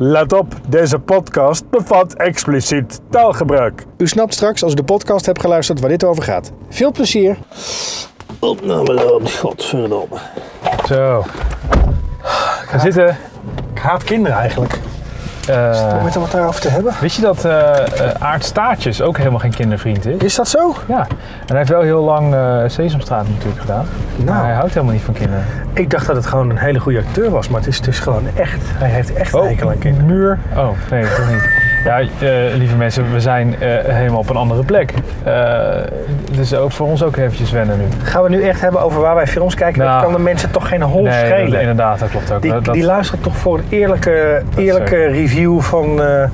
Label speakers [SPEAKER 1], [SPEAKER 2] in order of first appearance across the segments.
[SPEAKER 1] Let op, deze podcast bevat expliciet taalgebruik.
[SPEAKER 2] U snapt straks als u de podcast hebt geluisterd waar dit over gaat. Veel plezier.
[SPEAKER 3] Opname loopt, godverdomme.
[SPEAKER 1] Zo. Ga zitten.
[SPEAKER 2] Ik haat kinderen eigenlijk.
[SPEAKER 1] Eh,
[SPEAKER 2] Met er wat daarover te hebben.
[SPEAKER 1] wist je dat eh eh, Aart Staartjes ook helemaal geen kindervriend is?
[SPEAKER 2] Is dat zo?
[SPEAKER 1] Ja. En hij heeft wel heel lang eh, Sesamstraat natuurlijk gedaan. Maar hij
[SPEAKER 2] Nou,
[SPEAKER 1] houdt helemaal niet van kinderen.
[SPEAKER 2] ik dacht dat het gewoon een hele goede acteur was, maar het is dus gewoon echt. Hij heeft echt een hekel aan kinderen.
[SPEAKER 1] muur. Oh, nee, toch niet. Ja, eh, lieve mensen, we zijn eh, helemaal op een andere plek. Eh, dus ook voor ons ook eventjes wennen nu.
[SPEAKER 2] Gaan we nu echt hebben over waar wij films kijken?
[SPEAKER 1] Nou,
[SPEAKER 2] dat kan de mensen toch geen hol
[SPEAKER 1] nee,
[SPEAKER 2] schelen.
[SPEAKER 1] dat- inderdaad, dat klopt ook.
[SPEAKER 2] die,
[SPEAKER 1] dat, dat-
[SPEAKER 2] die luisteren toch voor een eerlijke, eerlijke review van eh,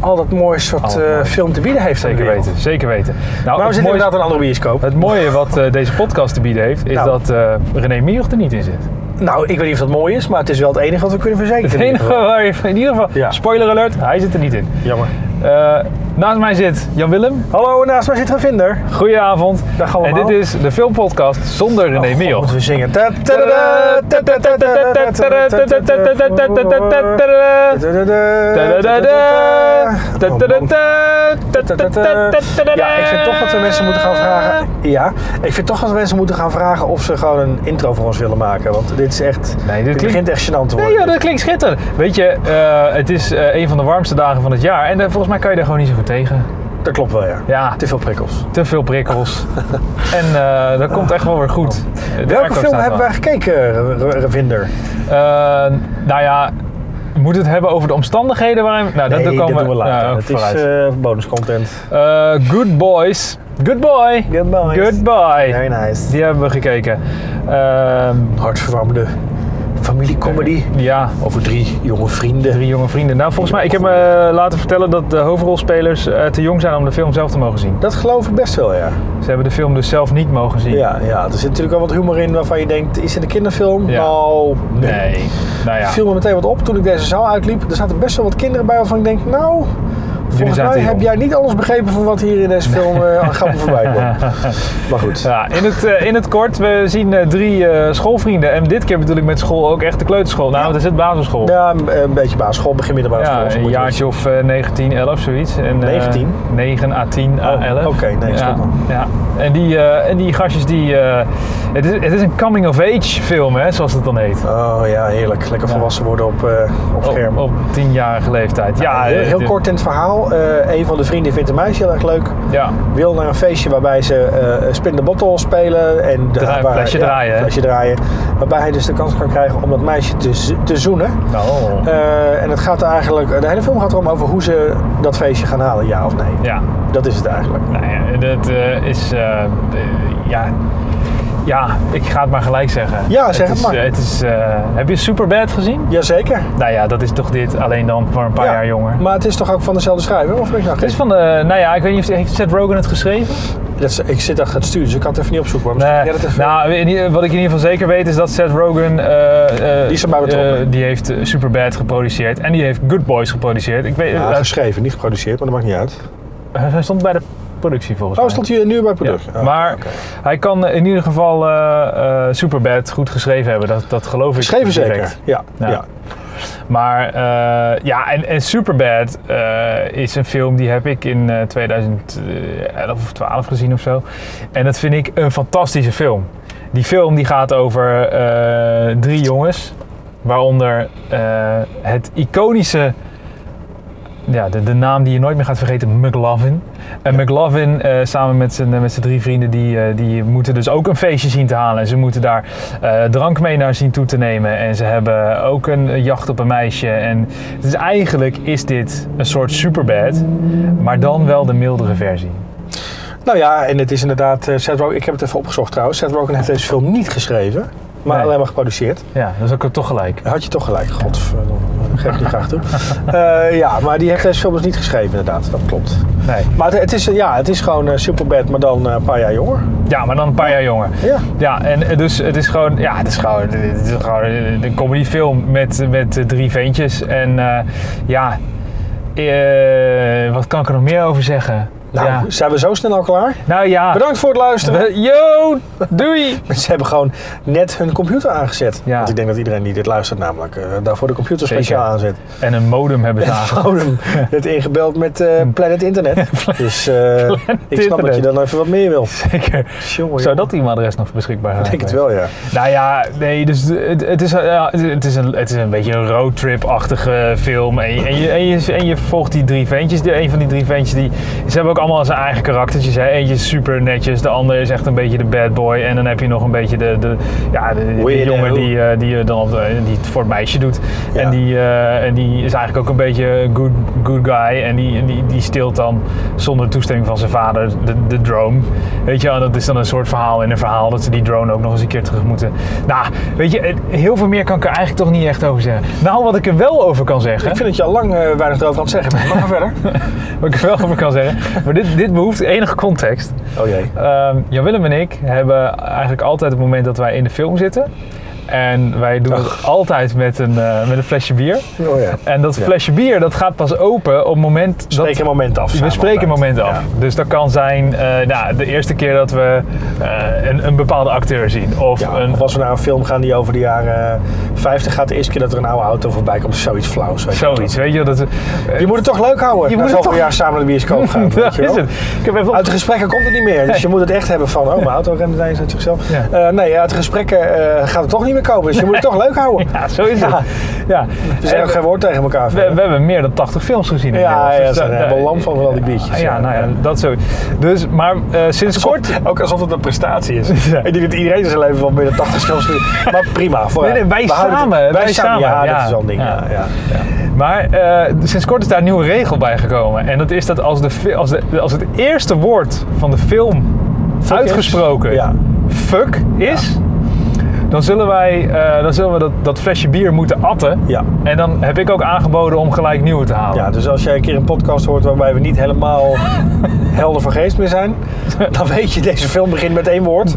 [SPEAKER 2] al dat moois
[SPEAKER 1] Al
[SPEAKER 2] wat
[SPEAKER 1] dat
[SPEAKER 2] eh,
[SPEAKER 1] moois.
[SPEAKER 2] film te bieden heeft. aan de
[SPEAKER 1] zeker
[SPEAKER 2] wereld.
[SPEAKER 1] weten, zeker weten. Nou,
[SPEAKER 2] Maar we
[SPEAKER 1] het,
[SPEAKER 2] zitten
[SPEAKER 1] mooie,
[SPEAKER 2] inderdaad in een andere bioscoop.
[SPEAKER 1] het mooie wat eh, deze podcast te bieden heeft, is
[SPEAKER 2] Nou.
[SPEAKER 1] dat eh, René Mioch er niet in zit.
[SPEAKER 2] Nou, ik weet niet of dat mooi is, maar het is wel het enige wat we kunnen verzekeren.
[SPEAKER 1] Het
[SPEAKER 2] in ieder
[SPEAKER 1] enige
[SPEAKER 2] geval.
[SPEAKER 1] waar je in ieder geval,
[SPEAKER 2] Ja.
[SPEAKER 1] spoiler alert, hij zit er niet in.
[SPEAKER 2] Jammer.
[SPEAKER 1] Eh, naast mij zit Jan Willem.
[SPEAKER 2] Hallo, en naast mij zit een vinder.
[SPEAKER 1] Goedenavond.
[SPEAKER 2] Dag
[SPEAKER 1] en
[SPEAKER 2] allemaal.
[SPEAKER 1] dit is de filmpodcast zonder René
[SPEAKER 2] God,
[SPEAKER 1] Mioch.
[SPEAKER 2] Moeten we zingen. Ja, ik vind toch dat we mensen moeten gaan vragen. Ja, ik vind toch dat we mensen moeten gaan vragen of ze gewoon een intro voor ons willen maken. Want dit is echt.
[SPEAKER 1] Nee, dit klinkt-
[SPEAKER 2] begint echt gênant te
[SPEAKER 1] Nee, joh,
[SPEAKER 2] worden.
[SPEAKER 1] dat klinkt schitterend. Weet je, eh, het is eh, een van de warmste dagen van het jaar. En eh, volgens mij kan je daar gewoon niet zo goed tegen.
[SPEAKER 2] Dat klopt wel, ja.
[SPEAKER 1] Ja,
[SPEAKER 2] Te veel prikkels.
[SPEAKER 1] te veel prikkels. en eh, dat komt echt wel weer goed. De
[SPEAKER 2] Oh. Welke
[SPEAKER 1] airco
[SPEAKER 2] film
[SPEAKER 1] staat
[SPEAKER 2] hebben
[SPEAKER 1] aan.
[SPEAKER 2] wij gekeken, R- R- Revinder?
[SPEAKER 1] Eh, nou ja, moet het hebben over de omstandigheden waarin... Nou, dat
[SPEAKER 2] Nee,
[SPEAKER 1] komen
[SPEAKER 2] dat doen we later.
[SPEAKER 1] Nou,
[SPEAKER 2] Het is
[SPEAKER 1] vooruit.
[SPEAKER 2] eh bonuscontent.
[SPEAKER 1] Eh, good Boys. Good Boy.
[SPEAKER 2] Good boys.
[SPEAKER 1] Good Boy.
[SPEAKER 2] Very nice.
[SPEAKER 1] Die hebben we gekeken. Ehm,
[SPEAKER 2] Hartverwarmende familiecomedy
[SPEAKER 1] ja,
[SPEAKER 2] over drie jonge vrienden.
[SPEAKER 1] drie jonge vrienden. Nou, volgens mij, ik heb me laten vertellen dat de hoofdrolspelers eh, te jong zijn om de film zelf te mogen zien.
[SPEAKER 2] Dat geloof ik best wel, ja.
[SPEAKER 1] Ze hebben de film dus zelf niet mogen zien.
[SPEAKER 2] Ja, ja. Er zit natuurlijk wel wat humor in waarvan je denkt, is dit een kinderfilm?
[SPEAKER 1] Ja.
[SPEAKER 2] Nou, nee.
[SPEAKER 1] Nee. Nou ja.
[SPEAKER 2] Het viel me meteen wat op toen ik deze zaal uitliep. Er zaten best wel wat kinderen bij waarvan ik denk, nou, volgens
[SPEAKER 1] zaten
[SPEAKER 2] mij
[SPEAKER 1] hier
[SPEAKER 2] heb
[SPEAKER 1] op.
[SPEAKER 2] jij niet alles begrepen van wat hier in deze film eh, aan grappen voorbij komt. Maar goed.
[SPEAKER 1] Ja, in, het, eh, in het kort, we zien eh, drie eh, schoolvrienden. En dit keer bedoel ik met school ook echt de kleuterschool. Nou, want er zit basisschool.
[SPEAKER 2] Ja, een een beetje basisschool, begin middelbare
[SPEAKER 1] Ja,
[SPEAKER 2] school. zo
[SPEAKER 1] een
[SPEAKER 2] moet je
[SPEAKER 1] jaartje of eh, 19, 11, zoiets. En, eh,
[SPEAKER 2] 19?
[SPEAKER 1] 9 à 10 à
[SPEAKER 2] Oh,
[SPEAKER 1] 11.
[SPEAKER 2] oké, nee,
[SPEAKER 1] ja,
[SPEAKER 2] stop dan.
[SPEAKER 1] ja. En, die, eh, en die gastjes, die, eh, het, is, het is een coming-of-age film, hè, zoals het dan heet.
[SPEAKER 2] het. Oh ja, heerlijk. Lekker volwassen worden op, eh, op scherm.
[SPEAKER 1] Op, op 10-jarige leeftijd. Oh, Ja,
[SPEAKER 2] heel, heel
[SPEAKER 1] eh,
[SPEAKER 2] kort in het verhaal. eh, een van de vrienden vindt een meisje heel erg leuk.
[SPEAKER 1] Ja,
[SPEAKER 2] wil naar een feestje waarbij ze eh spin the bottle spelen en de,
[SPEAKER 1] Draai-
[SPEAKER 2] waar-
[SPEAKER 1] flesje draaien, hè?
[SPEAKER 2] flesje draaien. Waarbij hij dus de kans kan krijgen om dat meisje te, z- te zoenen.
[SPEAKER 1] nou.
[SPEAKER 2] Eh, en het gaat er eigenlijk, de hele film gaat erom over hoe ze dat feestje gaan halen, ja of nee.
[SPEAKER 1] ja.
[SPEAKER 2] Dat is het eigenlijk.
[SPEAKER 1] Nou ja, dat eh, is. eh, eh, ja. ja, ik ga het maar gelijk zeggen.
[SPEAKER 2] Ja, zeg het
[SPEAKER 1] is,
[SPEAKER 2] maar.
[SPEAKER 1] eh, het is, eh, heb je Superbad gezien?
[SPEAKER 2] Jazeker.
[SPEAKER 1] Nou ja, dat is toch dit, alleen dan voor een paar
[SPEAKER 2] Ja,
[SPEAKER 1] jaar jonger.
[SPEAKER 2] Maar het is toch ook van dezelfde schrijver? Of ben ik nou
[SPEAKER 1] Het is van de. Nou ja, ik weet niet of heeft Seth Rogen het geschreven?
[SPEAKER 2] gek? Dat is- Ik zit achter het stuur, dus ik kan het even niet opzoeken. Maar misschien
[SPEAKER 1] Nee.
[SPEAKER 2] jij dat even-
[SPEAKER 1] nou, in ieder- wat ik in ieder geval zeker weet is dat Seth Rogen. eh, eh,
[SPEAKER 2] Die is erbij betrokken.
[SPEAKER 1] eh, die heeft eh, Superbad geproduceerd en die heeft Good Boys geproduceerd. Ik weet,
[SPEAKER 2] Ja,
[SPEAKER 1] eh,
[SPEAKER 2] geschreven, niet geproduceerd, maar dat maakt niet uit.
[SPEAKER 1] hij stond bij de productie volgens
[SPEAKER 2] Oh,
[SPEAKER 1] mij.
[SPEAKER 2] stond hier nu bij
[SPEAKER 1] Ja,
[SPEAKER 2] product? Oh.
[SPEAKER 1] maar hij kan in ieder geval eh, eh, Superbad goed geschreven hebben. Dat, dat geloof ik.
[SPEAKER 2] Geschreven
[SPEAKER 1] direct.
[SPEAKER 2] zeker. Ja,
[SPEAKER 1] Ja.
[SPEAKER 2] ja.
[SPEAKER 1] Maar eh, ja, en, en Superbad eh, is een film die heb ik in eh, 2011 of 12 gezien of zo. En dat vind ik een fantastische film. Die film die gaat over eh, drie jongens, waaronder eh, het iconische, ja, de, de naam die je nooit meer gaat vergeten, McLovin. En McLovin eh, samen met zijn, met zijn drie vrienden, die, eh, die moeten dus ook een feestje zien te halen. En ze moeten daar eh, drank mee naar zien toe te nemen. En ze hebben ook een eh, jacht op een meisje. En dus eigenlijk is dit een soort superbad, maar dan wel de mildere versie.
[SPEAKER 2] Nou ja, en het is inderdaad, eh, Seth Rogen, ik heb het even opgezocht trouwens, Seth Rogen heeft deze film niet geschreven, maar
[SPEAKER 1] Nee.
[SPEAKER 2] alleen maar geproduceerd.
[SPEAKER 1] Ja, dat is ook toch gelijk.
[SPEAKER 2] Had je toch gelijk, godverdomme, geef die graag toe. Eh, ja, maar die heeft deze film dus niet geschreven inderdaad, dat klopt.
[SPEAKER 1] Nee.
[SPEAKER 2] Maar het, het is, eh, ja, het is gewoon eh, Superbad, maar dan eh, een paar jaar jonger.
[SPEAKER 1] Ja, maar dan een paar jaar jonger.
[SPEAKER 2] Ja.
[SPEAKER 1] Ja, en eh, dus het is gewoon, ja, het is gewoon, het is gewoon een een comedyfilm met, met eh, drie ventjes. En eh, ja, eh, wat kan ik er nog meer over zeggen?
[SPEAKER 2] Nou,
[SPEAKER 1] Ja.
[SPEAKER 2] zijn we zo snel al klaar?
[SPEAKER 1] Nou ja.
[SPEAKER 2] Bedankt voor het luisteren.
[SPEAKER 1] We- Yo, doei!
[SPEAKER 2] Ze hebben gewoon net hun computer aangezet.
[SPEAKER 1] Ja.
[SPEAKER 2] Want ik denk dat iedereen die dit luistert namelijk eh, daarvoor de computer
[SPEAKER 1] Zeker.
[SPEAKER 2] speciaal aanzet.
[SPEAKER 1] En een modem hebben ze aangekomen.
[SPEAKER 2] Gewoon hem net ingebeld met eh, Planet Internet. Dus eh, ik snap dat je
[SPEAKER 1] Hm. Internet.
[SPEAKER 2] dan even wat meer wil.
[SPEAKER 1] Zeker.
[SPEAKER 2] Jongen,
[SPEAKER 1] Zou dat e-mailadres nog beschikbaar zijn?
[SPEAKER 2] Ik denk het
[SPEAKER 1] geweest?
[SPEAKER 2] wel, ja.
[SPEAKER 1] Nou ja, nee, dus het, het, is, ja, het, is, een, het is een beetje een roadtrip-achtige film. En je, en, je, en, je, en je volgt die drie ventjes. Die, een van die drie ventjes, die, ze hebben ook allemaal zijn eigen karaktertjes. Hè? Eentje is super netjes, de ander is echt een beetje de bad boy. En dan heb je nog een beetje de, de, ja, de, de
[SPEAKER 2] Weirdo.
[SPEAKER 1] jongen die, eh, die, eh, dan op de- die het voor het meisje doet.
[SPEAKER 2] Ja.
[SPEAKER 1] En, die, eh, en die is eigenlijk ook een beetje good, good guy. En die, en die, die steelt dan zonder toestemming van zijn vader de, de drone. Weet je, wel, dat is dan een soort verhaal in een verhaal dat ze die drone ook nog eens een keer terug moeten. Nou, weet je, eh, heel veel meer kan ik er eigenlijk toch niet echt over zeggen. Nou, wat ik er wel over kan zeggen.
[SPEAKER 2] Ik vind dat je al lang eh, weinig erover aan het zeggen bent. Maar ga verder.
[SPEAKER 1] Wat ik er wel over kan zeggen. Maar dit, dit behoeft enige context.
[SPEAKER 2] Oh jee.
[SPEAKER 1] Ehm Jan Willem en ik hebben eigenlijk altijd het moment dat wij in de film zitten. En wij doen het altijd met een, eh, met een flesje bier.
[SPEAKER 2] Oh ja.
[SPEAKER 1] En dat
[SPEAKER 2] Ja.
[SPEAKER 1] flesje bier dat gaat pas open op het moment
[SPEAKER 2] We
[SPEAKER 1] dat.
[SPEAKER 2] spreken een moment af.
[SPEAKER 1] We
[SPEAKER 2] samen
[SPEAKER 1] spreken een
[SPEAKER 2] altijd.
[SPEAKER 1] moment af.
[SPEAKER 2] Ja.
[SPEAKER 1] Dus dat kan zijn eh, nou, de eerste keer dat we eh, een, een bepaalde acteur zien. Of
[SPEAKER 2] Ja,
[SPEAKER 1] een,
[SPEAKER 2] of als we naar nou een film gaan die over de jaren eh, 50 gaat, de eerste keer dat er een oude auto voorbij komt, is zoiets flauws. Weet je.
[SPEAKER 1] zoiets. Weet je, wel, dat, we-
[SPEAKER 2] Je moet het toch leuk houden.
[SPEAKER 1] Je
[SPEAKER 2] Je moet
[SPEAKER 1] moet het
[SPEAKER 2] zoveel
[SPEAKER 1] toch-
[SPEAKER 2] jaar samen naar de bioscoop gaan. weet
[SPEAKER 1] dat
[SPEAKER 2] je wel.
[SPEAKER 1] is het. Ik heb even op-
[SPEAKER 2] Uit de gesprekken komt het niet meer. Dus je moet het echt hebben van, oh, mijn auto remt ineens uit zichzelf.
[SPEAKER 1] Ja.
[SPEAKER 2] Eh, nee, uit de gesprekken eh, gaat het toch niet meer komen. Dus je moet het toch leuk houden.
[SPEAKER 1] Ja, Ah, zo is
[SPEAKER 2] Ja.
[SPEAKER 1] het. Ja.
[SPEAKER 2] We zeggen ook
[SPEAKER 1] En
[SPEAKER 2] geen woord tegen elkaar.
[SPEAKER 1] we, we hebben meer dan 80 films gezien.
[SPEAKER 2] ja,
[SPEAKER 1] inmiddels.
[SPEAKER 2] ja,
[SPEAKER 1] Dus
[SPEAKER 2] ze
[SPEAKER 1] dat-
[SPEAKER 2] hebben een lamp van van al die biertjes.
[SPEAKER 1] Ja, nou ja, dat zo. Dus, maar eh, sinds kort
[SPEAKER 2] Kort, ook alsof het een prestatie is.
[SPEAKER 1] Ja.
[SPEAKER 2] Ik denk dat iedereen in zijn leven wel meer dan 80 films doet. Maar prima, vooruit.
[SPEAKER 1] Nee, nee, wij
[SPEAKER 2] We houden het-
[SPEAKER 1] samen,
[SPEAKER 2] Wij,
[SPEAKER 1] wij
[SPEAKER 2] samen,
[SPEAKER 1] samen,
[SPEAKER 2] ja,
[SPEAKER 1] ja.
[SPEAKER 2] dat is wel een ding. Ja.
[SPEAKER 1] Ja.
[SPEAKER 2] Ja,
[SPEAKER 1] Maar eh, sinds kort is daar een nieuwe regel bij gekomen. En dat is dat als, de, fi- als, de, als het eerste woord van de film uitgesproken
[SPEAKER 2] is. Ja.
[SPEAKER 1] fuck is, dan zullen wij eh, dan zullen we dat, dat flesje bier moeten atten.
[SPEAKER 2] Ja.
[SPEAKER 1] En dan heb ik ook aangeboden om gelijk nieuwe te halen.
[SPEAKER 2] Ja, dus als jij een keer een podcast hoort waarbij we niet helemaal helder van geest meer zijn, dan weet je, deze film begint met één woord.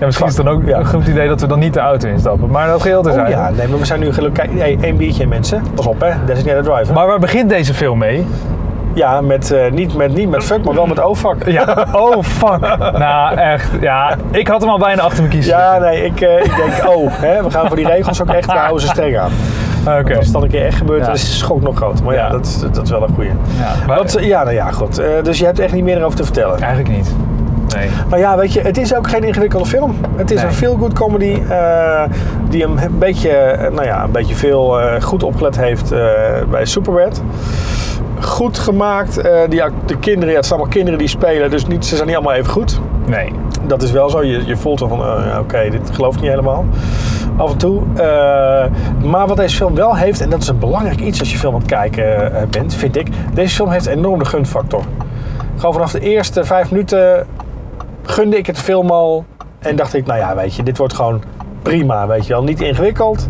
[SPEAKER 1] Ja, misschien is het dan ook
[SPEAKER 2] Ja.
[SPEAKER 1] een goed idee dat we dan niet de auto instappen. Maar dat geheel terzijde.
[SPEAKER 2] Oh ja, nee, maar we zijn nu gelukkig. Kijk, hey, één biertje mensen. Pas op, hè. Designated driver.
[SPEAKER 1] Maar waar begint deze film mee?
[SPEAKER 2] ja, met, eh, niet, met, niet met fuck, maar wel met oh fuck.
[SPEAKER 1] Ja. Oh, fuck. nou, echt. Ja, ik had hem al bijna achter me kiezen.
[SPEAKER 2] Ja, nee, ik, eh, ik denk, oh, hè, we gaan voor die regels ook echt, we houden ze streng aan.
[SPEAKER 1] Oké.
[SPEAKER 2] Als het dan een keer echt gebeurt,
[SPEAKER 1] Ja.
[SPEAKER 2] dan is de schok nog groot. Maar ja,
[SPEAKER 1] Ja.
[SPEAKER 2] Dat, is, dat is wel een goeie.
[SPEAKER 1] Ja, maar-
[SPEAKER 2] Dat, eh, ja, nou ja, goed. Eh, dus je hebt echt niet meer over te vertellen.
[SPEAKER 1] Eigenlijk niet. Nee.
[SPEAKER 2] Maar ja, weet je, het is ook geen ingewikkelde film. Het is
[SPEAKER 1] Nee.
[SPEAKER 2] een feel-good comedy eh, die een beetje, eh, nou ja, een beetje veel eh, goed opgelet heeft eh, bij Superbad. Goed gemaakt. eh, die, act- de kinderen, ja, het zijn allemaal kinderen die spelen, dus niet, ze zijn niet allemaal even goed.
[SPEAKER 1] Nee.
[SPEAKER 2] Dat is wel zo. Je, je voelt wel van, eh, ja, oké, dit geloof ik niet helemaal. Af en toe. Eh, maar wat deze film wel heeft, en dat is een belangrijk iets als je film aan het kijken eh, bent, vind ik. Deze film heeft een enorme gunfactor. Gewoon vanaf de eerste vijf minuten gunde ik het film al. En dacht ik, nou ja, weet je, dit wordt gewoon prima, weet je wel. Niet ingewikkeld.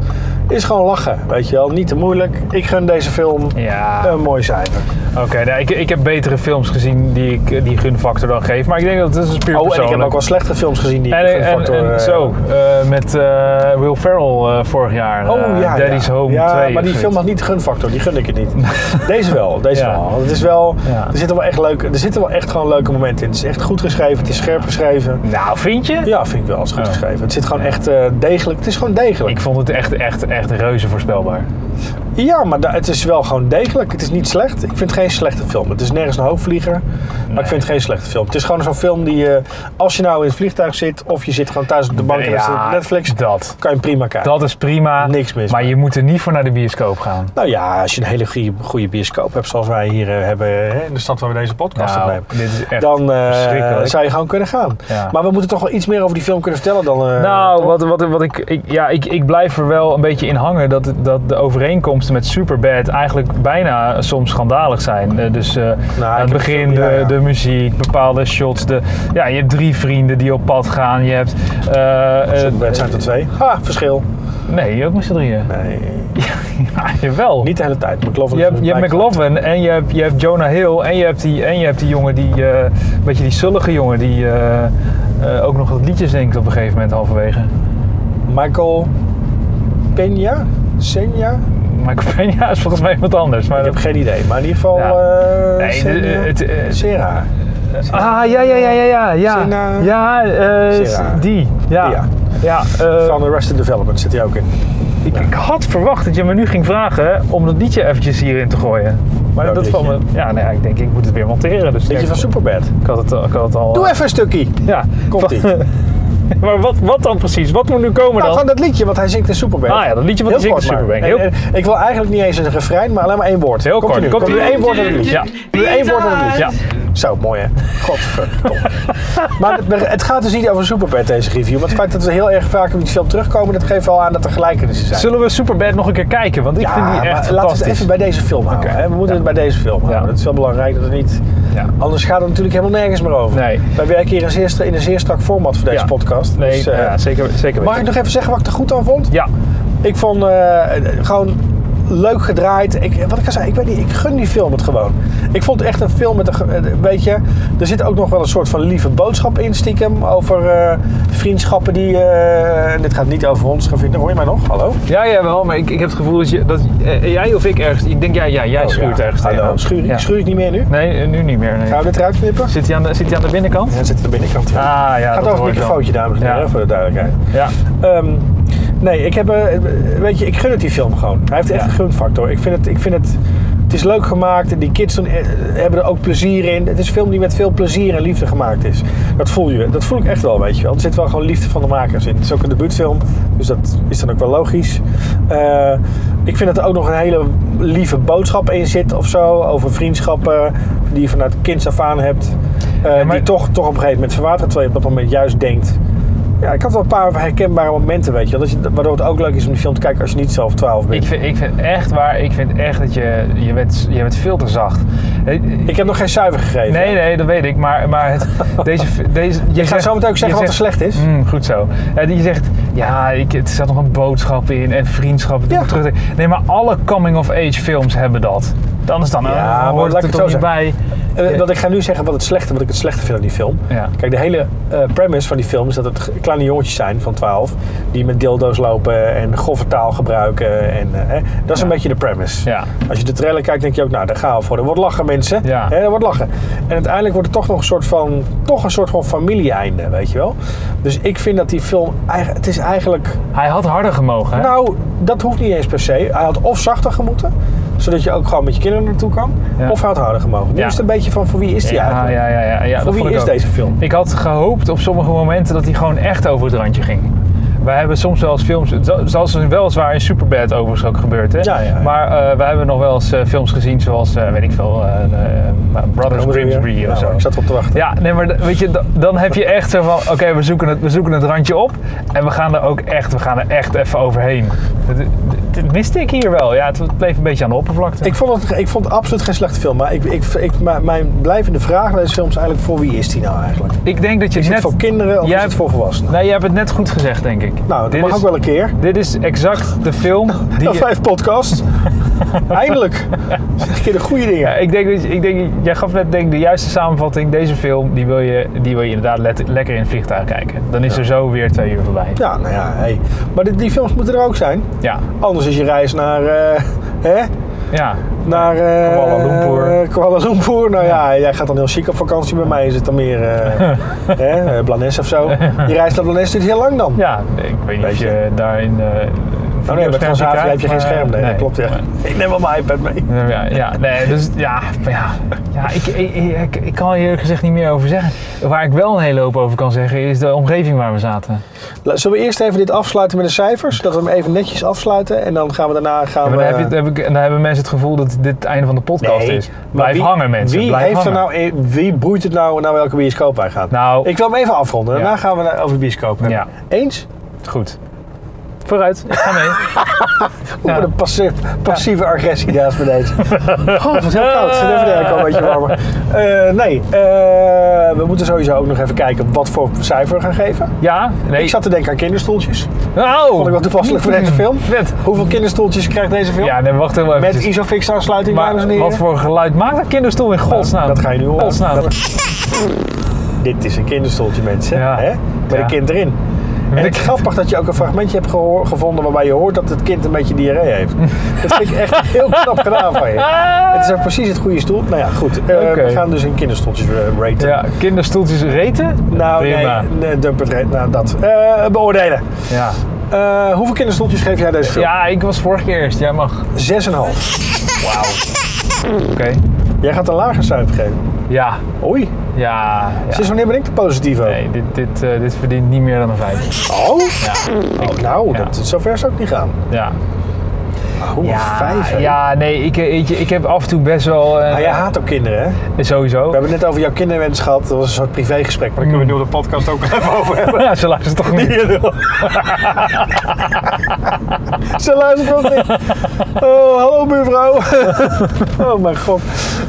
[SPEAKER 2] Is gewoon lachen, weet je wel. Niet te moeilijk. Ik gun deze film
[SPEAKER 1] Ja.
[SPEAKER 2] een mooi cijfer.
[SPEAKER 1] Oké, nou, ik, ik heb betere films gezien die ik eh, die gunfactor dan geef. Maar ik denk dat het is dus puur
[SPEAKER 2] Oh, en ik heb
[SPEAKER 1] persoonlijk.
[SPEAKER 2] ook wel slechtere films gezien die
[SPEAKER 1] en, en,
[SPEAKER 2] gunfactor...
[SPEAKER 1] en
[SPEAKER 2] eh,
[SPEAKER 1] zo, eh, met eh, Will Ferrell eh, vorig jaar.
[SPEAKER 2] Oh
[SPEAKER 1] eh,
[SPEAKER 2] ja,
[SPEAKER 1] Daddy's
[SPEAKER 2] ja.
[SPEAKER 1] Home
[SPEAKER 2] ja,
[SPEAKER 1] 2. of
[SPEAKER 2] maar die
[SPEAKER 1] zoiets.
[SPEAKER 2] film had niet de gunfactor, die gun ik het niet. Deze wel, deze
[SPEAKER 1] Ja.
[SPEAKER 2] wel. Want Het is wel,
[SPEAKER 1] Ja.
[SPEAKER 2] er zitten wel echt leuke, er zitten wel echt gewoon leuke momenten in. Het is echt goed geschreven, het is scherp geschreven.
[SPEAKER 1] Nou, vind je?
[SPEAKER 2] Ja, vind ik wel, het is goed
[SPEAKER 1] Ja.
[SPEAKER 2] geschreven. Het zit gewoon echt eh, degelijk, het is gewoon degelijk.
[SPEAKER 1] Ik vond het echt, echt, echt reuze voorspelbaar.
[SPEAKER 2] Ja, maar da- het is wel gewoon degelijk. Het is niet slecht. Ik vind het geen slechte film. Het is nergens een hoopvlieger, maar ik vind het geen slechte film. Het is gewoon zo'n film die, je, als je nou in het vliegtuig zit of je zit gewoon thuis op de bank en
[SPEAKER 1] Ja,
[SPEAKER 2] en zit op eh, Netflix,
[SPEAKER 1] dat.
[SPEAKER 2] kan je hem prima kijken.
[SPEAKER 1] Dat is prima.
[SPEAKER 2] Niks mis
[SPEAKER 1] Maar je moet er niet voor naar de bioscoop gaan.
[SPEAKER 2] Nou ja, als je een hele goede, goede bioscoop hebt, zoals wij hier eh, hebben hè, in de stad waar we deze podcast
[SPEAKER 1] Nou,
[SPEAKER 2] opnemen.
[SPEAKER 1] dit is echt
[SPEAKER 2] Dan eh,
[SPEAKER 1] verschrikkelijk.
[SPEAKER 2] zou je gewoon kunnen gaan.
[SPEAKER 1] Ja.
[SPEAKER 2] Maar we moeten toch wel iets meer over die film kunnen vertellen dan. eh,
[SPEAKER 1] Nou,
[SPEAKER 2] toch?
[SPEAKER 1] wat, wat, wat ik, ik, ja, ik, ik blijf er wel een beetje in hangen dat, dat de overeenkomsten met Superbad eigenlijk bijna soms schandalig zijn. Eh, dus eh, aan
[SPEAKER 2] Nou, heb
[SPEAKER 1] het begin
[SPEAKER 2] het-
[SPEAKER 1] de,
[SPEAKER 2] ja, ja.
[SPEAKER 1] de muziek, bepaalde shots. De, ja, je hebt drie vrienden die op pad gaan. Je hebt... eh, eh,
[SPEAKER 2] Het zijn er twee. Ha, verschil.
[SPEAKER 1] nee, ook met z'n drieën.
[SPEAKER 2] Nee,
[SPEAKER 1] Ja, jawel.
[SPEAKER 2] niet de hele tijd. McLaughlin
[SPEAKER 1] je hebt, je hebt
[SPEAKER 2] Mike-
[SPEAKER 1] McLaughlin en je hebt, je hebt Jonah Hill en je hebt die, en je hebt die jongen die, eh, een beetje die zullige jongen die eh, eh, ook nog wat liedjes zingt op een gegeven moment halverwege. Eh,
[SPEAKER 2] Michael Peña? Senja?
[SPEAKER 1] Michael Peña is volgens mij iemand anders. Maar
[SPEAKER 2] Ik heb
[SPEAKER 1] dat-
[SPEAKER 2] geen idee, maar in ieder geval...
[SPEAKER 1] Ja.
[SPEAKER 2] eh
[SPEAKER 1] Nee,
[SPEAKER 2] Sena-
[SPEAKER 1] de- het- eh,
[SPEAKER 2] Sera.
[SPEAKER 1] Ah, ja, ja, ja, ja, ja. Ja,
[SPEAKER 2] Sina-
[SPEAKER 1] ja eh,
[SPEAKER 2] Sina.
[SPEAKER 1] die. Ja,
[SPEAKER 2] Ja.
[SPEAKER 1] ja. eh,
[SPEAKER 2] Van Arrested Development zit hij ook in.
[SPEAKER 1] ik, ik had verwacht dat je me nu ging vragen om dat liedje eventjes hierin te gooien. Maar
[SPEAKER 2] Welk
[SPEAKER 1] dat valt me...
[SPEAKER 2] liedje?
[SPEAKER 1] Ja, nou ja, ik denk ik moet het weer monteren. Dus
[SPEAKER 2] Beetje
[SPEAKER 1] kijk,
[SPEAKER 2] van Superbad.
[SPEAKER 1] ik had het, al- ik had het al... eh,
[SPEAKER 2] Doe even een stukje.
[SPEAKER 1] Ja.
[SPEAKER 2] Komt-ie.
[SPEAKER 1] maar wat, wat dan precies? Wat moet nu komen
[SPEAKER 2] Nou,
[SPEAKER 1] dan?
[SPEAKER 2] gewoon dat liedje wat hij zingt in Superbad.
[SPEAKER 1] Ah ja, dat liedje wat hij zingt in
[SPEAKER 2] kort maar.
[SPEAKER 1] Superbad. Heel-
[SPEAKER 2] En- en ik wil eigenlijk niet eens een refrein, maar alleen maar één woord.
[SPEAKER 1] Heel
[SPEAKER 2] Komt-ie
[SPEAKER 1] kort.
[SPEAKER 2] nu.
[SPEAKER 1] Komt-ie.
[SPEAKER 2] Komt er één woord en een liedje.
[SPEAKER 1] Ja.
[SPEAKER 2] Nu één woord en een liedje.
[SPEAKER 1] Ja.
[SPEAKER 2] Zo, mooi hè. Godverdomme. maar het- maar het gaat dus niet over Superbad, deze review. Want het feit dat we heel erg vaak op die film terugkomen, dat geeft wel aan dat er gelijkenissen zijn.
[SPEAKER 1] Zullen we Superbad nog een keer kijken? Want ik
[SPEAKER 2] ja,
[SPEAKER 1] vind die
[SPEAKER 2] maar
[SPEAKER 1] echt
[SPEAKER 2] laten we het
[SPEAKER 1] fantastisch.
[SPEAKER 2] even bij deze film houden.
[SPEAKER 1] Oké.
[SPEAKER 2] Hè? We moeten
[SPEAKER 1] Ja.
[SPEAKER 2] het bij deze film houden.
[SPEAKER 1] Ja.
[SPEAKER 2] Dat is wel belangrijk dat het niet...
[SPEAKER 1] Ja.
[SPEAKER 2] Anders gaat het natuurlijk helemaal nergens meer over.
[SPEAKER 1] Nee.
[SPEAKER 2] Wij werken hier in, zeer stra- in een zeer strak format voor deze
[SPEAKER 1] Ja.
[SPEAKER 2] podcast.
[SPEAKER 1] Nee,
[SPEAKER 2] Dus, eh,
[SPEAKER 1] ja, zeker, zeker
[SPEAKER 2] Mag ik
[SPEAKER 1] weten.
[SPEAKER 2] nog even zeggen wat ik er goed aan vond?
[SPEAKER 1] Ja.
[SPEAKER 2] Ik vond eh, gewoon leuk gedraaid. Ik, wat ik al zei, ik, weet niet, ik gun die film het gewoon. Ik vond het echt een film met een, ge- eh, weet je, er zit ook nog wel een soort van lieve boodschap in stiekem over eh, vriendschappen die, eh, en dit gaat niet over ons, gaan vinden. hoor je mij nog? Hallo?
[SPEAKER 1] Ja, jawel, maar ik, ik heb het gevoel dat, je, dat eh, jij of ik ergens... Ik denk, ja, ja jij schuurt
[SPEAKER 2] Oh, ja.
[SPEAKER 1] ergens
[SPEAKER 2] Hallo,
[SPEAKER 1] tegenaan.
[SPEAKER 2] schuur, ik-
[SPEAKER 1] Ja.
[SPEAKER 2] schuur ik niet meer nu?
[SPEAKER 1] Nee, eh, nu niet meer. Nee.
[SPEAKER 2] Gaan we dit eruit knippen?
[SPEAKER 1] Zit hij aan de, zit hij aan de binnenkant?
[SPEAKER 2] Ja, zit aan de binnenkant. Ja.
[SPEAKER 1] Ah, ja,
[SPEAKER 2] gaat
[SPEAKER 1] dat
[SPEAKER 2] over het
[SPEAKER 1] hoor ik wel.
[SPEAKER 2] microfoontje, dames en heren,
[SPEAKER 1] Ja.
[SPEAKER 2] hè, voor de duidelijkheid.
[SPEAKER 1] Ja.
[SPEAKER 2] Ehm, nee, ik heb, eh, weet je, ik gun het die film gewoon. Hij heeft echt
[SPEAKER 1] Ja.
[SPEAKER 2] een gunfactor. Ik vind het, ik vind het, het is leuk gemaakt en die kids doen, eh, hebben er ook plezier in. Het is een film die met veel plezier en liefde gemaakt is. Dat voel je, dat voel ik echt wel, weet je wel. Er zit wel gewoon liefde van de makers in. Het is ook een debuutfilm, dus dat is dan ook wel logisch. Eh, ik vind dat er ook nog een hele lieve boodschap in zit of zo. Over vriendschappen die je vanuit kinds af aan hebt. eh,
[SPEAKER 1] maar-
[SPEAKER 2] Die toch, toch op een gegeven moment verwateren. Terwijl je op dat moment juist denkt... Ja, ik had wel een paar herkenbare momenten, weet je. wel. Dat je waardoor het ook leuk is om die film te kijken als je niet zelf 12 bent.
[SPEAKER 1] Ik
[SPEAKER 2] Ik,
[SPEAKER 1] vind, ik vind echt waar, ik vind echt dat je, je bent, je bent veel te zacht. Ik,
[SPEAKER 2] heb nog geen cijfer gegeven.
[SPEAKER 1] nee, nee, dat weet ik, maar, maar het, deze, deze... Je
[SPEAKER 2] Ik ga zo meteen ook zeggen
[SPEAKER 1] je
[SPEAKER 2] wat er slecht is.
[SPEAKER 1] Mm, goed zo. Eh, die zegt, ja, ik, het zat nog een boodschap in en vriendschap.
[SPEAKER 2] Ja.
[SPEAKER 1] Ja. Nee, maar alle coming-of-age films hebben dat. Dan is dan, eh,
[SPEAKER 2] Ja,
[SPEAKER 1] ja,
[SPEAKER 2] maar
[SPEAKER 1] hoort
[SPEAKER 2] laat
[SPEAKER 1] het
[SPEAKER 2] ik
[SPEAKER 1] er
[SPEAKER 2] het
[SPEAKER 1] toch
[SPEAKER 2] zo
[SPEAKER 1] niet bij.
[SPEAKER 2] Eh, Want ik ga nu zeggen wat het slechte, wat ik het slechte vind aan die film.
[SPEAKER 1] Ja.
[SPEAKER 2] Kijk, de hele eh, premise van die film is dat het g- kleine jongetjes zijn van 12. Die met dildo's lopen en grove taal gebruiken. En, eh, hè. dat is een beetje de premise.
[SPEAKER 1] Ja.
[SPEAKER 2] Als je de trailer kijkt, denk je ook, nou, daar gaan we voor. Er wordt lachen, mensen.
[SPEAKER 1] Ja.
[SPEAKER 2] Hè, er wordt lachen. En uiteindelijk wordt het toch nog een soort van, toch een soort van familie-einde, weet je wel. Dus ik vind dat die film, eigen- het is eigenlijk...
[SPEAKER 1] Hij had harder gemogen, hè?
[SPEAKER 2] Nou, dat hoeft niet eens per se. Hij had of zachter gemoeten, zodat je ook gewoon met je kinderen naartoe kan.
[SPEAKER 1] Ja.
[SPEAKER 2] Of hij had harder gemogen. Nu
[SPEAKER 1] Ja.
[SPEAKER 2] is het een beetje van, voor wie is die
[SPEAKER 1] ja,
[SPEAKER 2] eigenlijk?
[SPEAKER 1] Ah, ja, ja, ja, ja. dat
[SPEAKER 2] Voor wie
[SPEAKER 1] vond ik
[SPEAKER 2] is
[SPEAKER 1] ook.
[SPEAKER 2] deze film?
[SPEAKER 1] Ik had gehoopt op sommige momenten dat hij gewoon echt over het randje ging. Wij hebben soms wel eens films, zo- zoals er weliswaar in Superbad overigens ook gebeurd, hè?
[SPEAKER 2] Ja, ja, ja.
[SPEAKER 1] Maar eh, wij hebben nog wel eens eh, films gezien zoals, eh, weet ik veel, eh, eh, Brothers
[SPEAKER 2] Komen ze weer?
[SPEAKER 1] Grimsby of
[SPEAKER 2] Nou,
[SPEAKER 1] zo.
[SPEAKER 2] Ik zat op te wachten.
[SPEAKER 1] Ja, nee, maar d- weet je, d- dan heb je echt zo van, oké, we, zoeken het- we zoeken het randje op en we gaan er ook echt, we gaan er echt even overheen. Dat, dat miste ik hier wel. Ja, het bleef een beetje aan de oppervlakte.
[SPEAKER 2] Ik vond, het, ik vond het absoluut geen slechte film. Maar ik, ik, ik, mijn- mijn blijvende vraag bij deze film is eigenlijk voor wie is die nou eigenlijk?
[SPEAKER 1] Ik denk dat je
[SPEAKER 2] Is
[SPEAKER 1] net...
[SPEAKER 2] het voor kinderen of
[SPEAKER 1] jij
[SPEAKER 2] is het
[SPEAKER 1] hebt-
[SPEAKER 2] voor volwassenen?
[SPEAKER 1] Nee, je hebt het net goed gezegd, denk ik.
[SPEAKER 2] Nou, dat
[SPEAKER 1] dit
[SPEAKER 2] mag
[SPEAKER 1] is,
[SPEAKER 2] ook wel een keer.
[SPEAKER 1] Dit is exact de film die...
[SPEAKER 2] Dat
[SPEAKER 1] je-
[SPEAKER 2] vijf podcast. Eindelijk. Zeg een keer de goede dingen.
[SPEAKER 1] Ja, ik denk, dat je- ik denk, jij gaf net denk ik de juiste samenvatting. Deze film, die wil je, die wil je inderdaad let- lekker in het vliegtuig kijken. Dan is er zo weer twee uur voorbij.
[SPEAKER 2] Ja, nou ja, hey. Maar die, die films moeten er ook zijn.
[SPEAKER 1] Ja.
[SPEAKER 2] Anders is je reis naar... eh, hè?
[SPEAKER 1] Ja.
[SPEAKER 2] Naar... eh,
[SPEAKER 1] Kuala Lumpur.
[SPEAKER 2] eh, Kuala Lumpur. Nou ja. jij gaat dan heel chic op vakantie. Bij mij is het dan meer... eh hè? eh, Blanes of zo. Je reis naar Blanes duurt heel lang dan.
[SPEAKER 1] Ja, ik weet niet
[SPEAKER 2] Weet
[SPEAKER 1] of
[SPEAKER 2] je.
[SPEAKER 1] je daarin... eh,
[SPEAKER 2] Oh nee, bij Transavia heb je geen scherm. Nee, dat klopt. Ja. Ik neem wel mijn iPad mee.
[SPEAKER 1] Ja, ja, nee, dus ja, maar ja, ja ik, ik, ik, ik kan hier eerlijk gezegd niet meer over zeggen. Waar ik wel een hele hoop over kan zeggen is de omgeving waar we zaten.
[SPEAKER 2] La- Zullen we eerst even dit afsluiten met de cijfers? Dat we hem even netjes afsluiten en dan gaan we daarna... Gaan
[SPEAKER 1] Ja, maar
[SPEAKER 2] we,
[SPEAKER 1] dan, heb je, het- heb ik, dan hebben mensen het gevoel dat dit het einde van de podcast
[SPEAKER 2] eh, Nee,
[SPEAKER 1] is.
[SPEAKER 2] maar
[SPEAKER 1] Blijf
[SPEAKER 2] wie-
[SPEAKER 1] hangen, mensen.
[SPEAKER 2] Wie,
[SPEAKER 1] blijf
[SPEAKER 2] heeft er
[SPEAKER 1] hangen.
[SPEAKER 2] nou, e- wie boeit het nou naar welke bioscoop hij gaat?
[SPEAKER 1] Nou,
[SPEAKER 2] Ik wil hem even afronden. Daarna
[SPEAKER 1] Ja.
[SPEAKER 2] gaan we naar- over de bioscoop hebben.
[SPEAKER 1] Ja.
[SPEAKER 2] Eens?
[SPEAKER 1] goed. Vooruit, ik ga mee.
[SPEAKER 2] Oeh,
[SPEAKER 1] Ja.
[SPEAKER 2] wat een passi- passieve agressie daar is bij deze. Oh, het is heel koud. Zet even de airco een beetje warmer. Eh, nee, eh, we moeten sowieso ook nog even kijken wat voor cijfer we gaan geven.
[SPEAKER 1] Ja, nee.
[SPEAKER 2] Ik zat te denken aan kinderstoeltjes.
[SPEAKER 1] Nou,
[SPEAKER 2] Vond ik wel toepasselijk voor deze film.
[SPEAKER 1] Vet.
[SPEAKER 2] Hoeveel kinderstoeltjes krijgt deze film?
[SPEAKER 1] Ja, nee, wacht heel even.
[SPEAKER 2] Met Isofix aansluiting, dames en
[SPEAKER 1] maar
[SPEAKER 2] heren. Nou,
[SPEAKER 1] wat voor geluid maakt dat kinderstoel in godsnaam?
[SPEAKER 2] dat ga je nu horen.
[SPEAKER 1] Godsnaam.
[SPEAKER 2] Dat- Dit is een kinderstoeltje, mensen.
[SPEAKER 1] Ja.
[SPEAKER 2] Hè? Met
[SPEAKER 1] Ja.
[SPEAKER 2] een kind erin. En het is grappig dat je ook een fragmentje hebt gehoor- gevonden waarbij je hoort dat het kind een beetje diarree heeft. Dat vind ik echt heel knap gedaan van je.
[SPEAKER 1] Oh.
[SPEAKER 2] Het is ook precies het goede stoel. Nou ja, goed. Eh,
[SPEAKER 1] Oké.
[SPEAKER 2] We gaan dus in kinderstoeltjes eh, raten.
[SPEAKER 1] Ja, kinderstoeltjes reten?
[SPEAKER 2] Nou,
[SPEAKER 1] Prima.
[SPEAKER 2] nee, nee dumpert rate. Nou, dat. Eh, beoordelen.
[SPEAKER 1] Ja.
[SPEAKER 2] Eh, hoeveel kinderstoeltjes geef jij deze film?
[SPEAKER 1] ja, ik was vorige keer eerst. Jij mag. Oké.
[SPEAKER 2] 6,5. Jij gaat een lager cijfer geven.
[SPEAKER 1] Ja.
[SPEAKER 2] Oei.
[SPEAKER 1] Ja. ja.
[SPEAKER 2] Sinds wanneer ben ik de positieve?
[SPEAKER 1] Nee, dit, dit, eh, dit verdient niet meer dan een 5.
[SPEAKER 2] Oh?
[SPEAKER 1] Ja.
[SPEAKER 2] Oh, nou,
[SPEAKER 1] ja.
[SPEAKER 2] dat, zover zou ik niet gaan.
[SPEAKER 1] ja.
[SPEAKER 2] Oh, vijf, hè?
[SPEAKER 1] ja, nee, ik, eh, weet je, ik heb af en toe best wel... eh,
[SPEAKER 2] Maar jij haat ook kinderen, hè?
[SPEAKER 1] Sowieso.
[SPEAKER 2] We hebben het net over jouw kinderwens gehad. Dat was een soort privégesprek, maar daar kunnen we nu op de podcast ook even over hebben.
[SPEAKER 1] Ja, ze luisteren toch niet.
[SPEAKER 2] Ze luistert ook niet. Oh, hallo buurvrouw. Oh mijn god.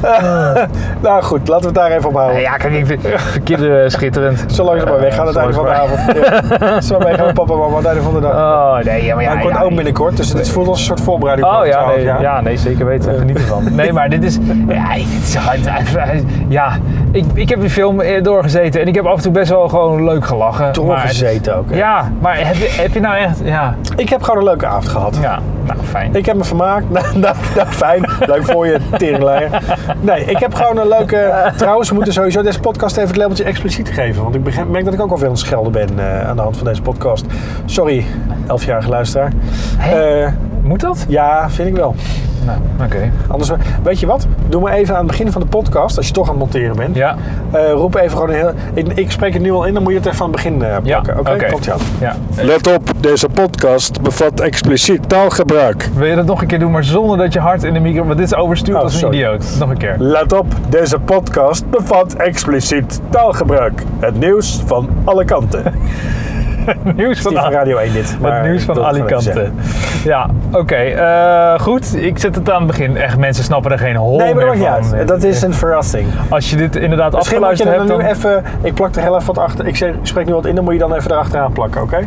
[SPEAKER 2] Eh, nou goed, laten we het daar even op houden.
[SPEAKER 1] Ja, kijk, ik vind- ik vind kinderen schitterend.
[SPEAKER 2] Zolang ze maar weggaan aan het
[SPEAKER 1] Eh,
[SPEAKER 2] einde van de
[SPEAKER 1] zolang ze
[SPEAKER 2] avond. Ja. Zo mee gaan papa en mama aan het einde van de dag.
[SPEAKER 1] maar- Oh, nee, ja, maar ja.
[SPEAKER 2] Maar ik word
[SPEAKER 1] ja,
[SPEAKER 2] ook binnenkort, dus het voelt als een soort voorbereiding. voor
[SPEAKER 1] Oh
[SPEAKER 2] het
[SPEAKER 1] ja,
[SPEAKER 2] twaalf
[SPEAKER 1] nee,
[SPEAKER 2] jaar.
[SPEAKER 1] ja, nee, zeker weten. Geniet ervan. Nee, maar dit is. Ja, dit is hard. ja ik, ik heb die film eh, doorgezeten en ik heb af en toe best wel gewoon leuk gelachen.
[SPEAKER 2] Doorgezeten ook. hè.
[SPEAKER 1] Maar, ja, maar heb je, heb je nou echt. Ja,
[SPEAKER 2] Ik heb gewoon een leuke avond gehad.
[SPEAKER 1] ja nou fijn.
[SPEAKER 2] Ik heb me vermaakt. Nou, nou, nou, fijn. Leuk voor je, teringleier. Nee, ik heb gewoon een leuke... Trouwens, we moeten sowieso deze podcast even het labeltje expliciet geven. Want ik begrijp- merk dat ik ook alweer aan het schelden ben eh, aan de hand van deze podcast. Sorry, elfjarige luisteraar.
[SPEAKER 1] Hè?
[SPEAKER 2] Eh,
[SPEAKER 1] Moet dat?
[SPEAKER 2] ja, vind ik wel.
[SPEAKER 1] Nou, oké.
[SPEAKER 2] Anders, weet je wat? Doe maar even aan het begin van de podcast, als je toch aan het monteren bent.
[SPEAKER 1] Ja,
[SPEAKER 2] Eh, roep even gewoon een heel... Ik, ik spreek het nu al in, dan moet je het even aan het begin eh,
[SPEAKER 1] ja.
[SPEAKER 2] plakken. Oké, komt ie aan.
[SPEAKER 1] ja.
[SPEAKER 2] Let op, deze podcast bevat expliciet taalgebruik.
[SPEAKER 1] Wil je dat nog een keer doen, maar zonder dat je hard in de micro. Want dit is overstuurd
[SPEAKER 2] Oh,
[SPEAKER 1] als een
[SPEAKER 2] sorry.
[SPEAKER 1] idioot. Nog een keer.
[SPEAKER 2] Let op, deze podcast bevat expliciet taalgebruik. Het nieuws van alle kanten. Het
[SPEAKER 1] Nieuws
[SPEAKER 2] is
[SPEAKER 1] van
[SPEAKER 2] niet van Radio 1 dit. maar
[SPEAKER 1] Het nieuws
[SPEAKER 2] ik wil
[SPEAKER 1] van
[SPEAKER 2] het gewoon even
[SPEAKER 1] Alicante.
[SPEAKER 2] zeggen.
[SPEAKER 1] Ja, oké. eh, goed, ik zet het aan het begin. Echt, mensen snappen er geen hol
[SPEAKER 2] Nee, maar
[SPEAKER 1] meer
[SPEAKER 2] dat
[SPEAKER 1] van.
[SPEAKER 2] maakt niet uit. Dat is een verrassing.
[SPEAKER 1] Als je dit inderdaad
[SPEAKER 2] Misschien moet je
[SPEAKER 1] afgeluisterd
[SPEAKER 2] er
[SPEAKER 1] hebt,
[SPEAKER 2] nu
[SPEAKER 1] dan... Oké.
[SPEAKER 2] even... Ik plak er heel even wat achter. Ik zeg- ik spreek nu wat in, dan moet je dan even erachteraan plakken, oké?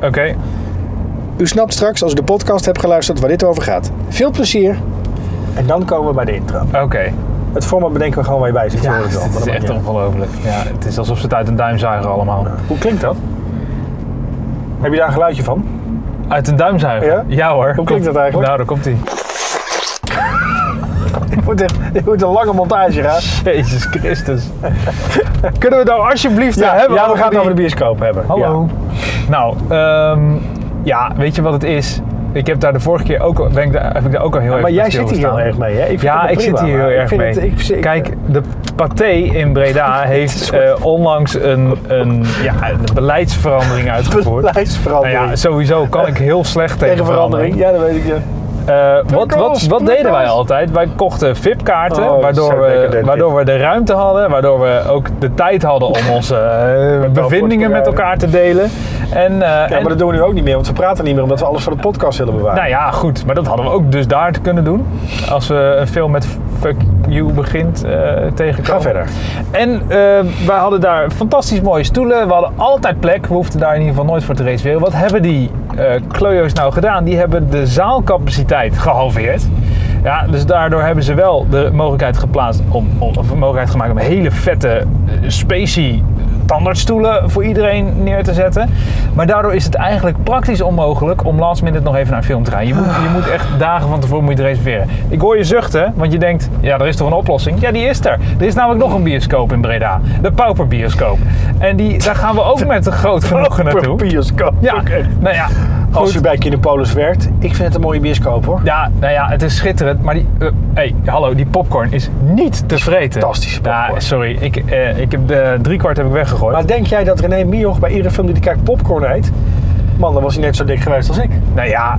[SPEAKER 2] U snapt straks, als u de podcast hebt geluisterd, waar dit over gaat. Veel plezier. En dan komen we bij de intro.
[SPEAKER 1] Oké.
[SPEAKER 2] Het format bedenken we gewoon waar je bij zit. hoor ik wel, maar
[SPEAKER 1] het
[SPEAKER 2] dat
[SPEAKER 1] is
[SPEAKER 2] maakt
[SPEAKER 1] echt
[SPEAKER 2] niet uit.
[SPEAKER 1] ongelooflijk. Ja, het is alsof ze het uit een duim zuigen allemaal.
[SPEAKER 2] Hoe klinkt dat? Heb je daar een geluidje van?
[SPEAKER 1] Uit een duim zuigen?
[SPEAKER 2] Ja?
[SPEAKER 1] hoor.
[SPEAKER 2] Hoe klinkt dat eigenlijk?
[SPEAKER 1] Nou, daar komt hij.
[SPEAKER 2] Je moet, echt, je moet een lange montage gaan.
[SPEAKER 1] Jezus Christus. Kunnen we het nou alsjeblieft
[SPEAKER 2] Ja,
[SPEAKER 1] hebben
[SPEAKER 2] ja we gaan het
[SPEAKER 1] die-
[SPEAKER 2] over de bioscoop hebben.
[SPEAKER 1] Hallo.
[SPEAKER 2] Ja.
[SPEAKER 1] Nou, ehm, ja, weet je wat het is? Ik heb daar de vorige keer ook, al- ben ik daar, heb ik daar ook al heel erg
[SPEAKER 2] Maar
[SPEAKER 1] bij
[SPEAKER 2] jij zit hier
[SPEAKER 1] stilgestaan.
[SPEAKER 2] heel erg mee, hè? Ik vind
[SPEAKER 1] Ja,
[SPEAKER 2] het
[SPEAKER 1] ik
[SPEAKER 2] prima,
[SPEAKER 1] zit hier
[SPEAKER 2] maar
[SPEAKER 1] heel
[SPEAKER 2] ik
[SPEAKER 1] erg
[SPEAKER 2] vind
[SPEAKER 1] mee.
[SPEAKER 2] het- ik- ik-
[SPEAKER 1] Kijk, de Pathé in Breda heeft eh, onlangs een, een, ja, een beleidsverandering uitgevoerd. Nou
[SPEAKER 2] Lijstverandering.
[SPEAKER 1] ja, sowieso kan ik heel slecht tegen,
[SPEAKER 2] Tegen verandering. Ja, dat weet ik. Ja.
[SPEAKER 1] Eh, wat, wat,
[SPEAKER 2] Prikkels,
[SPEAKER 1] wat deden wij
[SPEAKER 2] prikkels.
[SPEAKER 1] altijd? Wij kochten VIP-kaarten,
[SPEAKER 2] Oh, zo
[SPEAKER 1] waardoor,
[SPEAKER 2] decadent
[SPEAKER 1] we,
[SPEAKER 2] dit.
[SPEAKER 1] waardoor we de ruimte hadden, waardoor we ook de tijd hadden om onze eh, bevindingen met elkaar te delen. En, eh,
[SPEAKER 2] ja,
[SPEAKER 1] en-
[SPEAKER 2] maar dat doen we nu ook niet meer, want we praten niet meer omdat we alles voor de podcast willen bewaren.
[SPEAKER 1] nou ja, goed, maar dat hadden we ook dus daar te kunnen doen. Als we een film met Fuck You begint eh tegenkomen.
[SPEAKER 2] Ga verder.
[SPEAKER 1] En eh, wij hadden daar fantastisch mooie stoelen. We hadden altijd plek. We hoefden daar in ieder geval nooit voor te reserveren. Wat hebben die eh kleurjo's nou gedaan? Die hebben de zaalcapaciteit gehalveerd. Ja, dus daardoor hebben ze wel de mogelijkheid, geplaatst om, om, of de mogelijkheid gemaakt om hele vette eh, specie tandartsstoelen voor iedereen neer te zetten. Maar daardoor is het eigenlijk praktisch onmogelijk om last minute nog even naar een film te gaan. Je moet, je moet echt dagen van tevoren moet je het reserveren. Ik hoor je zuchten, want je denkt, ja, er is toch een oplossing? Ja, die is er. Er is namelijk nog een bioscoop in Breda. De Pauperbioscoop. En die, daar gaan we ook met een groot genoegen naartoe.
[SPEAKER 2] bioscoop.
[SPEAKER 1] Ja, nou ja.
[SPEAKER 2] Als
[SPEAKER 1] goed.
[SPEAKER 2] u bij Kinopolis werkt, ik vind het een mooie bioscoop hoor.
[SPEAKER 1] Ja, nou ja, het is schitterend, maar die, eh, hey, hallo, die popcorn is niet te vreten.
[SPEAKER 2] fantastische
[SPEAKER 1] Ja,
[SPEAKER 2] popcorn.
[SPEAKER 1] sorry, ik, eh, ik heb de driekwart heb ik weggegooid.
[SPEAKER 2] Maar denk jij dat René Mioch bij iedere film die hij kijkt popcorn eet? Man, dan was hij net zo dik geweest als ik.
[SPEAKER 1] Nou ja,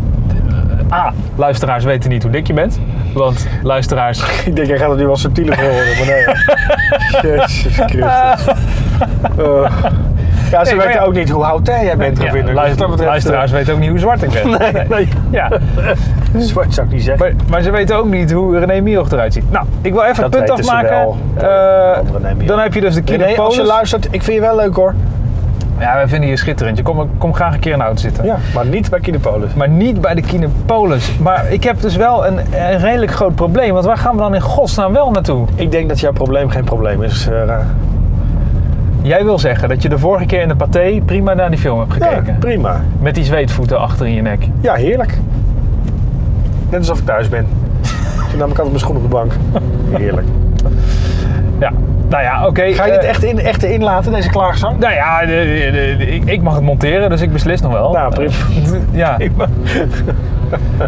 [SPEAKER 1] eh, A, luisteraars weten niet hoe dik je bent. Want luisteraars...
[SPEAKER 2] Ik denk, jij gaat het nu wel subtieler voor horen, maar nee. Jezus Christus. Eh, ja, ze
[SPEAKER 1] maar
[SPEAKER 2] weten
[SPEAKER 1] ja.
[SPEAKER 2] ook niet hoe oud jij bent,
[SPEAKER 1] Ja,
[SPEAKER 2] Govinder. Dus
[SPEAKER 1] luister-
[SPEAKER 2] dat betreft,
[SPEAKER 1] luisteraars weten ook niet hoe zwart ik ben.
[SPEAKER 2] eh, Nee, nee.
[SPEAKER 1] Ja,
[SPEAKER 2] Zwart zou ik niet zeggen.
[SPEAKER 1] maar, maar ze weten ook niet hoe René Mioch eruit ziet. Nou, ik wil even
[SPEAKER 2] Dat
[SPEAKER 1] het punt
[SPEAKER 2] weten ze
[SPEAKER 1] afmaken.
[SPEAKER 2] wel.
[SPEAKER 1] Eh,
[SPEAKER 2] Want René Mioch.
[SPEAKER 1] dan heb je dus de
[SPEAKER 2] René, als je
[SPEAKER 1] Kinopolis.
[SPEAKER 2] luistert, ik vind je wel leuk hoor.
[SPEAKER 1] Ja, wij vinden je schitterend. Je kom, kom graag een keer in de auto zitten.
[SPEAKER 2] Ja, maar niet bij Kinepolis.
[SPEAKER 1] Maar niet bij de Kinepolis. Maar ik heb dus wel een, een redelijk groot probleem. Want waar gaan we dan in godsnaam wel naartoe?
[SPEAKER 2] Ik denk dat jouw probleem geen probleem is, eh, Ra.
[SPEAKER 1] Jij wil zeggen dat je de vorige keer in de paté prima naar die film hebt
[SPEAKER 2] Ja,
[SPEAKER 1] gekeken.
[SPEAKER 2] prima.
[SPEAKER 1] Met die zweetvoeten achter in je nek.
[SPEAKER 2] Ja, heerlijk. Net alsof ik thuis ben. Toen nam ik altijd mijn schoen op de bank. Nou, Heerlijk.
[SPEAKER 1] Ja. Nou ja, oké.
[SPEAKER 2] Ga je
[SPEAKER 1] eh,
[SPEAKER 2] dit echt, in, echt erin laten, deze klaagzang?
[SPEAKER 1] Nou ja, de- de- de- de- ik, ik mag het monteren, dus ik beslis nog wel. Eh,
[SPEAKER 2] Nou, prima.
[SPEAKER 1] ja,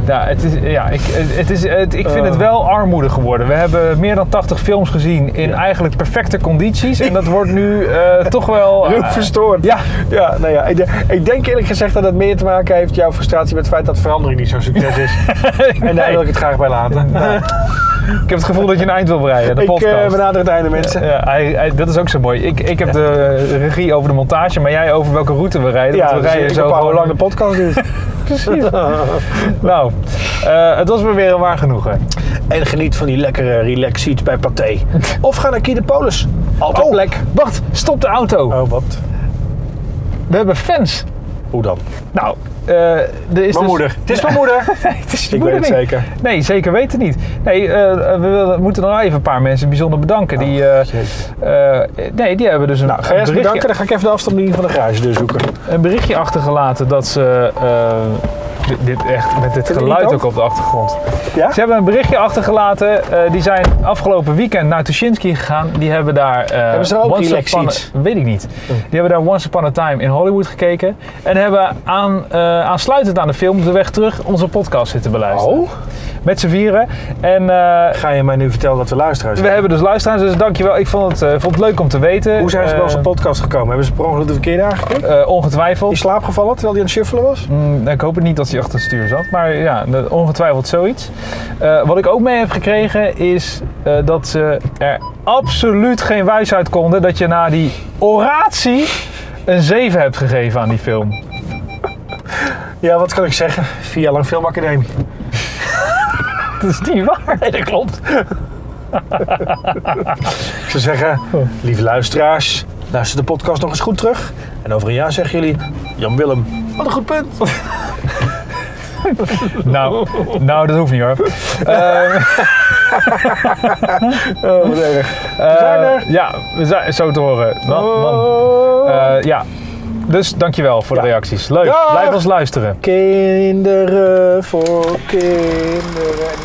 [SPEAKER 1] ja, het is, ja ik, het het is, het, ik vind
[SPEAKER 2] Eh.
[SPEAKER 1] het wel armoedig geworden. We hebben meer dan 80 films gezien in eigenlijk perfecte condities. En dat wordt nu eh, toch wel... eh,
[SPEAKER 2] Heel verstoord.
[SPEAKER 1] ja.
[SPEAKER 2] ja, nou ja ik, de- ik denk eerlijk gezegd dat het meer te maken heeft, jouw frustratie met het feit dat verandering niet zo'n succes is. En daar wil ik het graag bij laten.
[SPEAKER 1] Ik heb het gevoel dat je een eind wil breien, de
[SPEAKER 2] ik
[SPEAKER 1] podcast.
[SPEAKER 2] eh, benader het einde, mensen.
[SPEAKER 1] ja, hij, hij- dat is ook zo mooi. Ik, ik heb de regie over de montage, maar jij over welke route we rijden. want we
[SPEAKER 2] dus
[SPEAKER 1] rijden
[SPEAKER 2] ik
[SPEAKER 1] zo
[SPEAKER 2] bepaal hoe
[SPEAKER 1] gewoon-
[SPEAKER 2] lang de podcast duurt.
[SPEAKER 1] Nou, eh, het was me weer een waar genoegen.
[SPEAKER 2] en geniet van die lekkere relax seats bij Pathé. Of ga naar Kinepolis. Altijd plek.
[SPEAKER 1] Wacht, stop de auto.
[SPEAKER 2] Oh, wat?
[SPEAKER 1] We hebben fans.
[SPEAKER 2] Hoe dan?
[SPEAKER 1] Nou, eh er is dus-
[SPEAKER 2] Mijn moeder. Het is mijn moeder.
[SPEAKER 1] Nee, het is je
[SPEAKER 2] Ik
[SPEAKER 1] moeder
[SPEAKER 2] weet het
[SPEAKER 1] niet.
[SPEAKER 2] zeker.
[SPEAKER 1] Nee, zeker weten niet. Nee, eh, we willen- moeten nog even een paar mensen bijzonder bedanken.
[SPEAKER 2] Oh,
[SPEAKER 1] Die, eh,
[SPEAKER 2] jeetje.
[SPEAKER 1] eh, nee, die hebben dus een,
[SPEAKER 2] Ga
[SPEAKER 1] een
[SPEAKER 2] jij eens
[SPEAKER 1] berichtje,
[SPEAKER 2] bedanken, dan ga ik even de afstandsbediening van de garagedeur zoeken.
[SPEAKER 1] een berichtje achtergelaten dat ze... eh, dit, dit echt, met dit
[SPEAKER 2] je
[SPEAKER 1] geluid
[SPEAKER 2] niet
[SPEAKER 1] ook op de achtergrond.
[SPEAKER 2] Ja?
[SPEAKER 1] Ze hebben een berichtje achtergelaten. eh, die zijn afgelopen weekend naar Tuschinski gegaan. Die hebben daar... eh,
[SPEAKER 2] Hebben ze daar ook eh?
[SPEAKER 1] Once
[SPEAKER 2] relax
[SPEAKER 1] Upon a-
[SPEAKER 2] iets?
[SPEAKER 1] Weet ik niet.
[SPEAKER 2] Hm.
[SPEAKER 1] Die hebben daar Once Upon a Time in Hollywood gekeken. En hebben aan, eh, aansluitend aan de film De Weg Terug onze podcast zitten beluisteren.
[SPEAKER 2] Oh?
[SPEAKER 1] Met z'n vieren. En eh,
[SPEAKER 2] Ga je mij nu vertellen dat we luisteraars
[SPEAKER 1] we hebben dus luisteraars, dus dankjewel. Ik vond het, eh, vond het leuk om te weten.
[SPEAKER 2] Hoe zijn ze bij onze podcast gekomen? Hebben ze per ongeluk de verkeerde aangeklikt?
[SPEAKER 1] Eh, eh,
[SPEAKER 2] In
[SPEAKER 1] ongetwijfeld.
[SPEAKER 2] slaap gevallen terwijl hij aan het shuffelen was?
[SPEAKER 1] Mm, ik hoop het niet dat hij achter het stuur zat, maar ja, dat- ongetwijfeld zoiets. Eh, wat ik ook mee heb gekregen is eh, dat ze er absoluut geen wijs uit konden dat je na die oratie een 7 hebt gegeven aan die film.
[SPEAKER 2] Ja, wat kan ik zeggen? Vier jaar lang filmacademie.
[SPEAKER 1] Dat is niet waar.
[SPEAKER 2] Nee, dat klopt. ik zou zeggen, lieve luisteraars, luister de podcast nog eens goed terug. En over een jaar zeggen jullie, Jan Willem, wat een goed punt.
[SPEAKER 1] Nou, nou dat hoeft niet hoor.
[SPEAKER 2] Oh, wat erg. We zijn
[SPEAKER 1] Eh,
[SPEAKER 2] er.
[SPEAKER 1] Ja, we zijn zo te horen. Man, man. Eh, ja, dus dankjewel voor de
[SPEAKER 2] Oh. Ja.
[SPEAKER 1] reacties. Leuk,
[SPEAKER 2] Dag.
[SPEAKER 1] blijf ons luisteren.
[SPEAKER 2] Kinderen voor kinderen.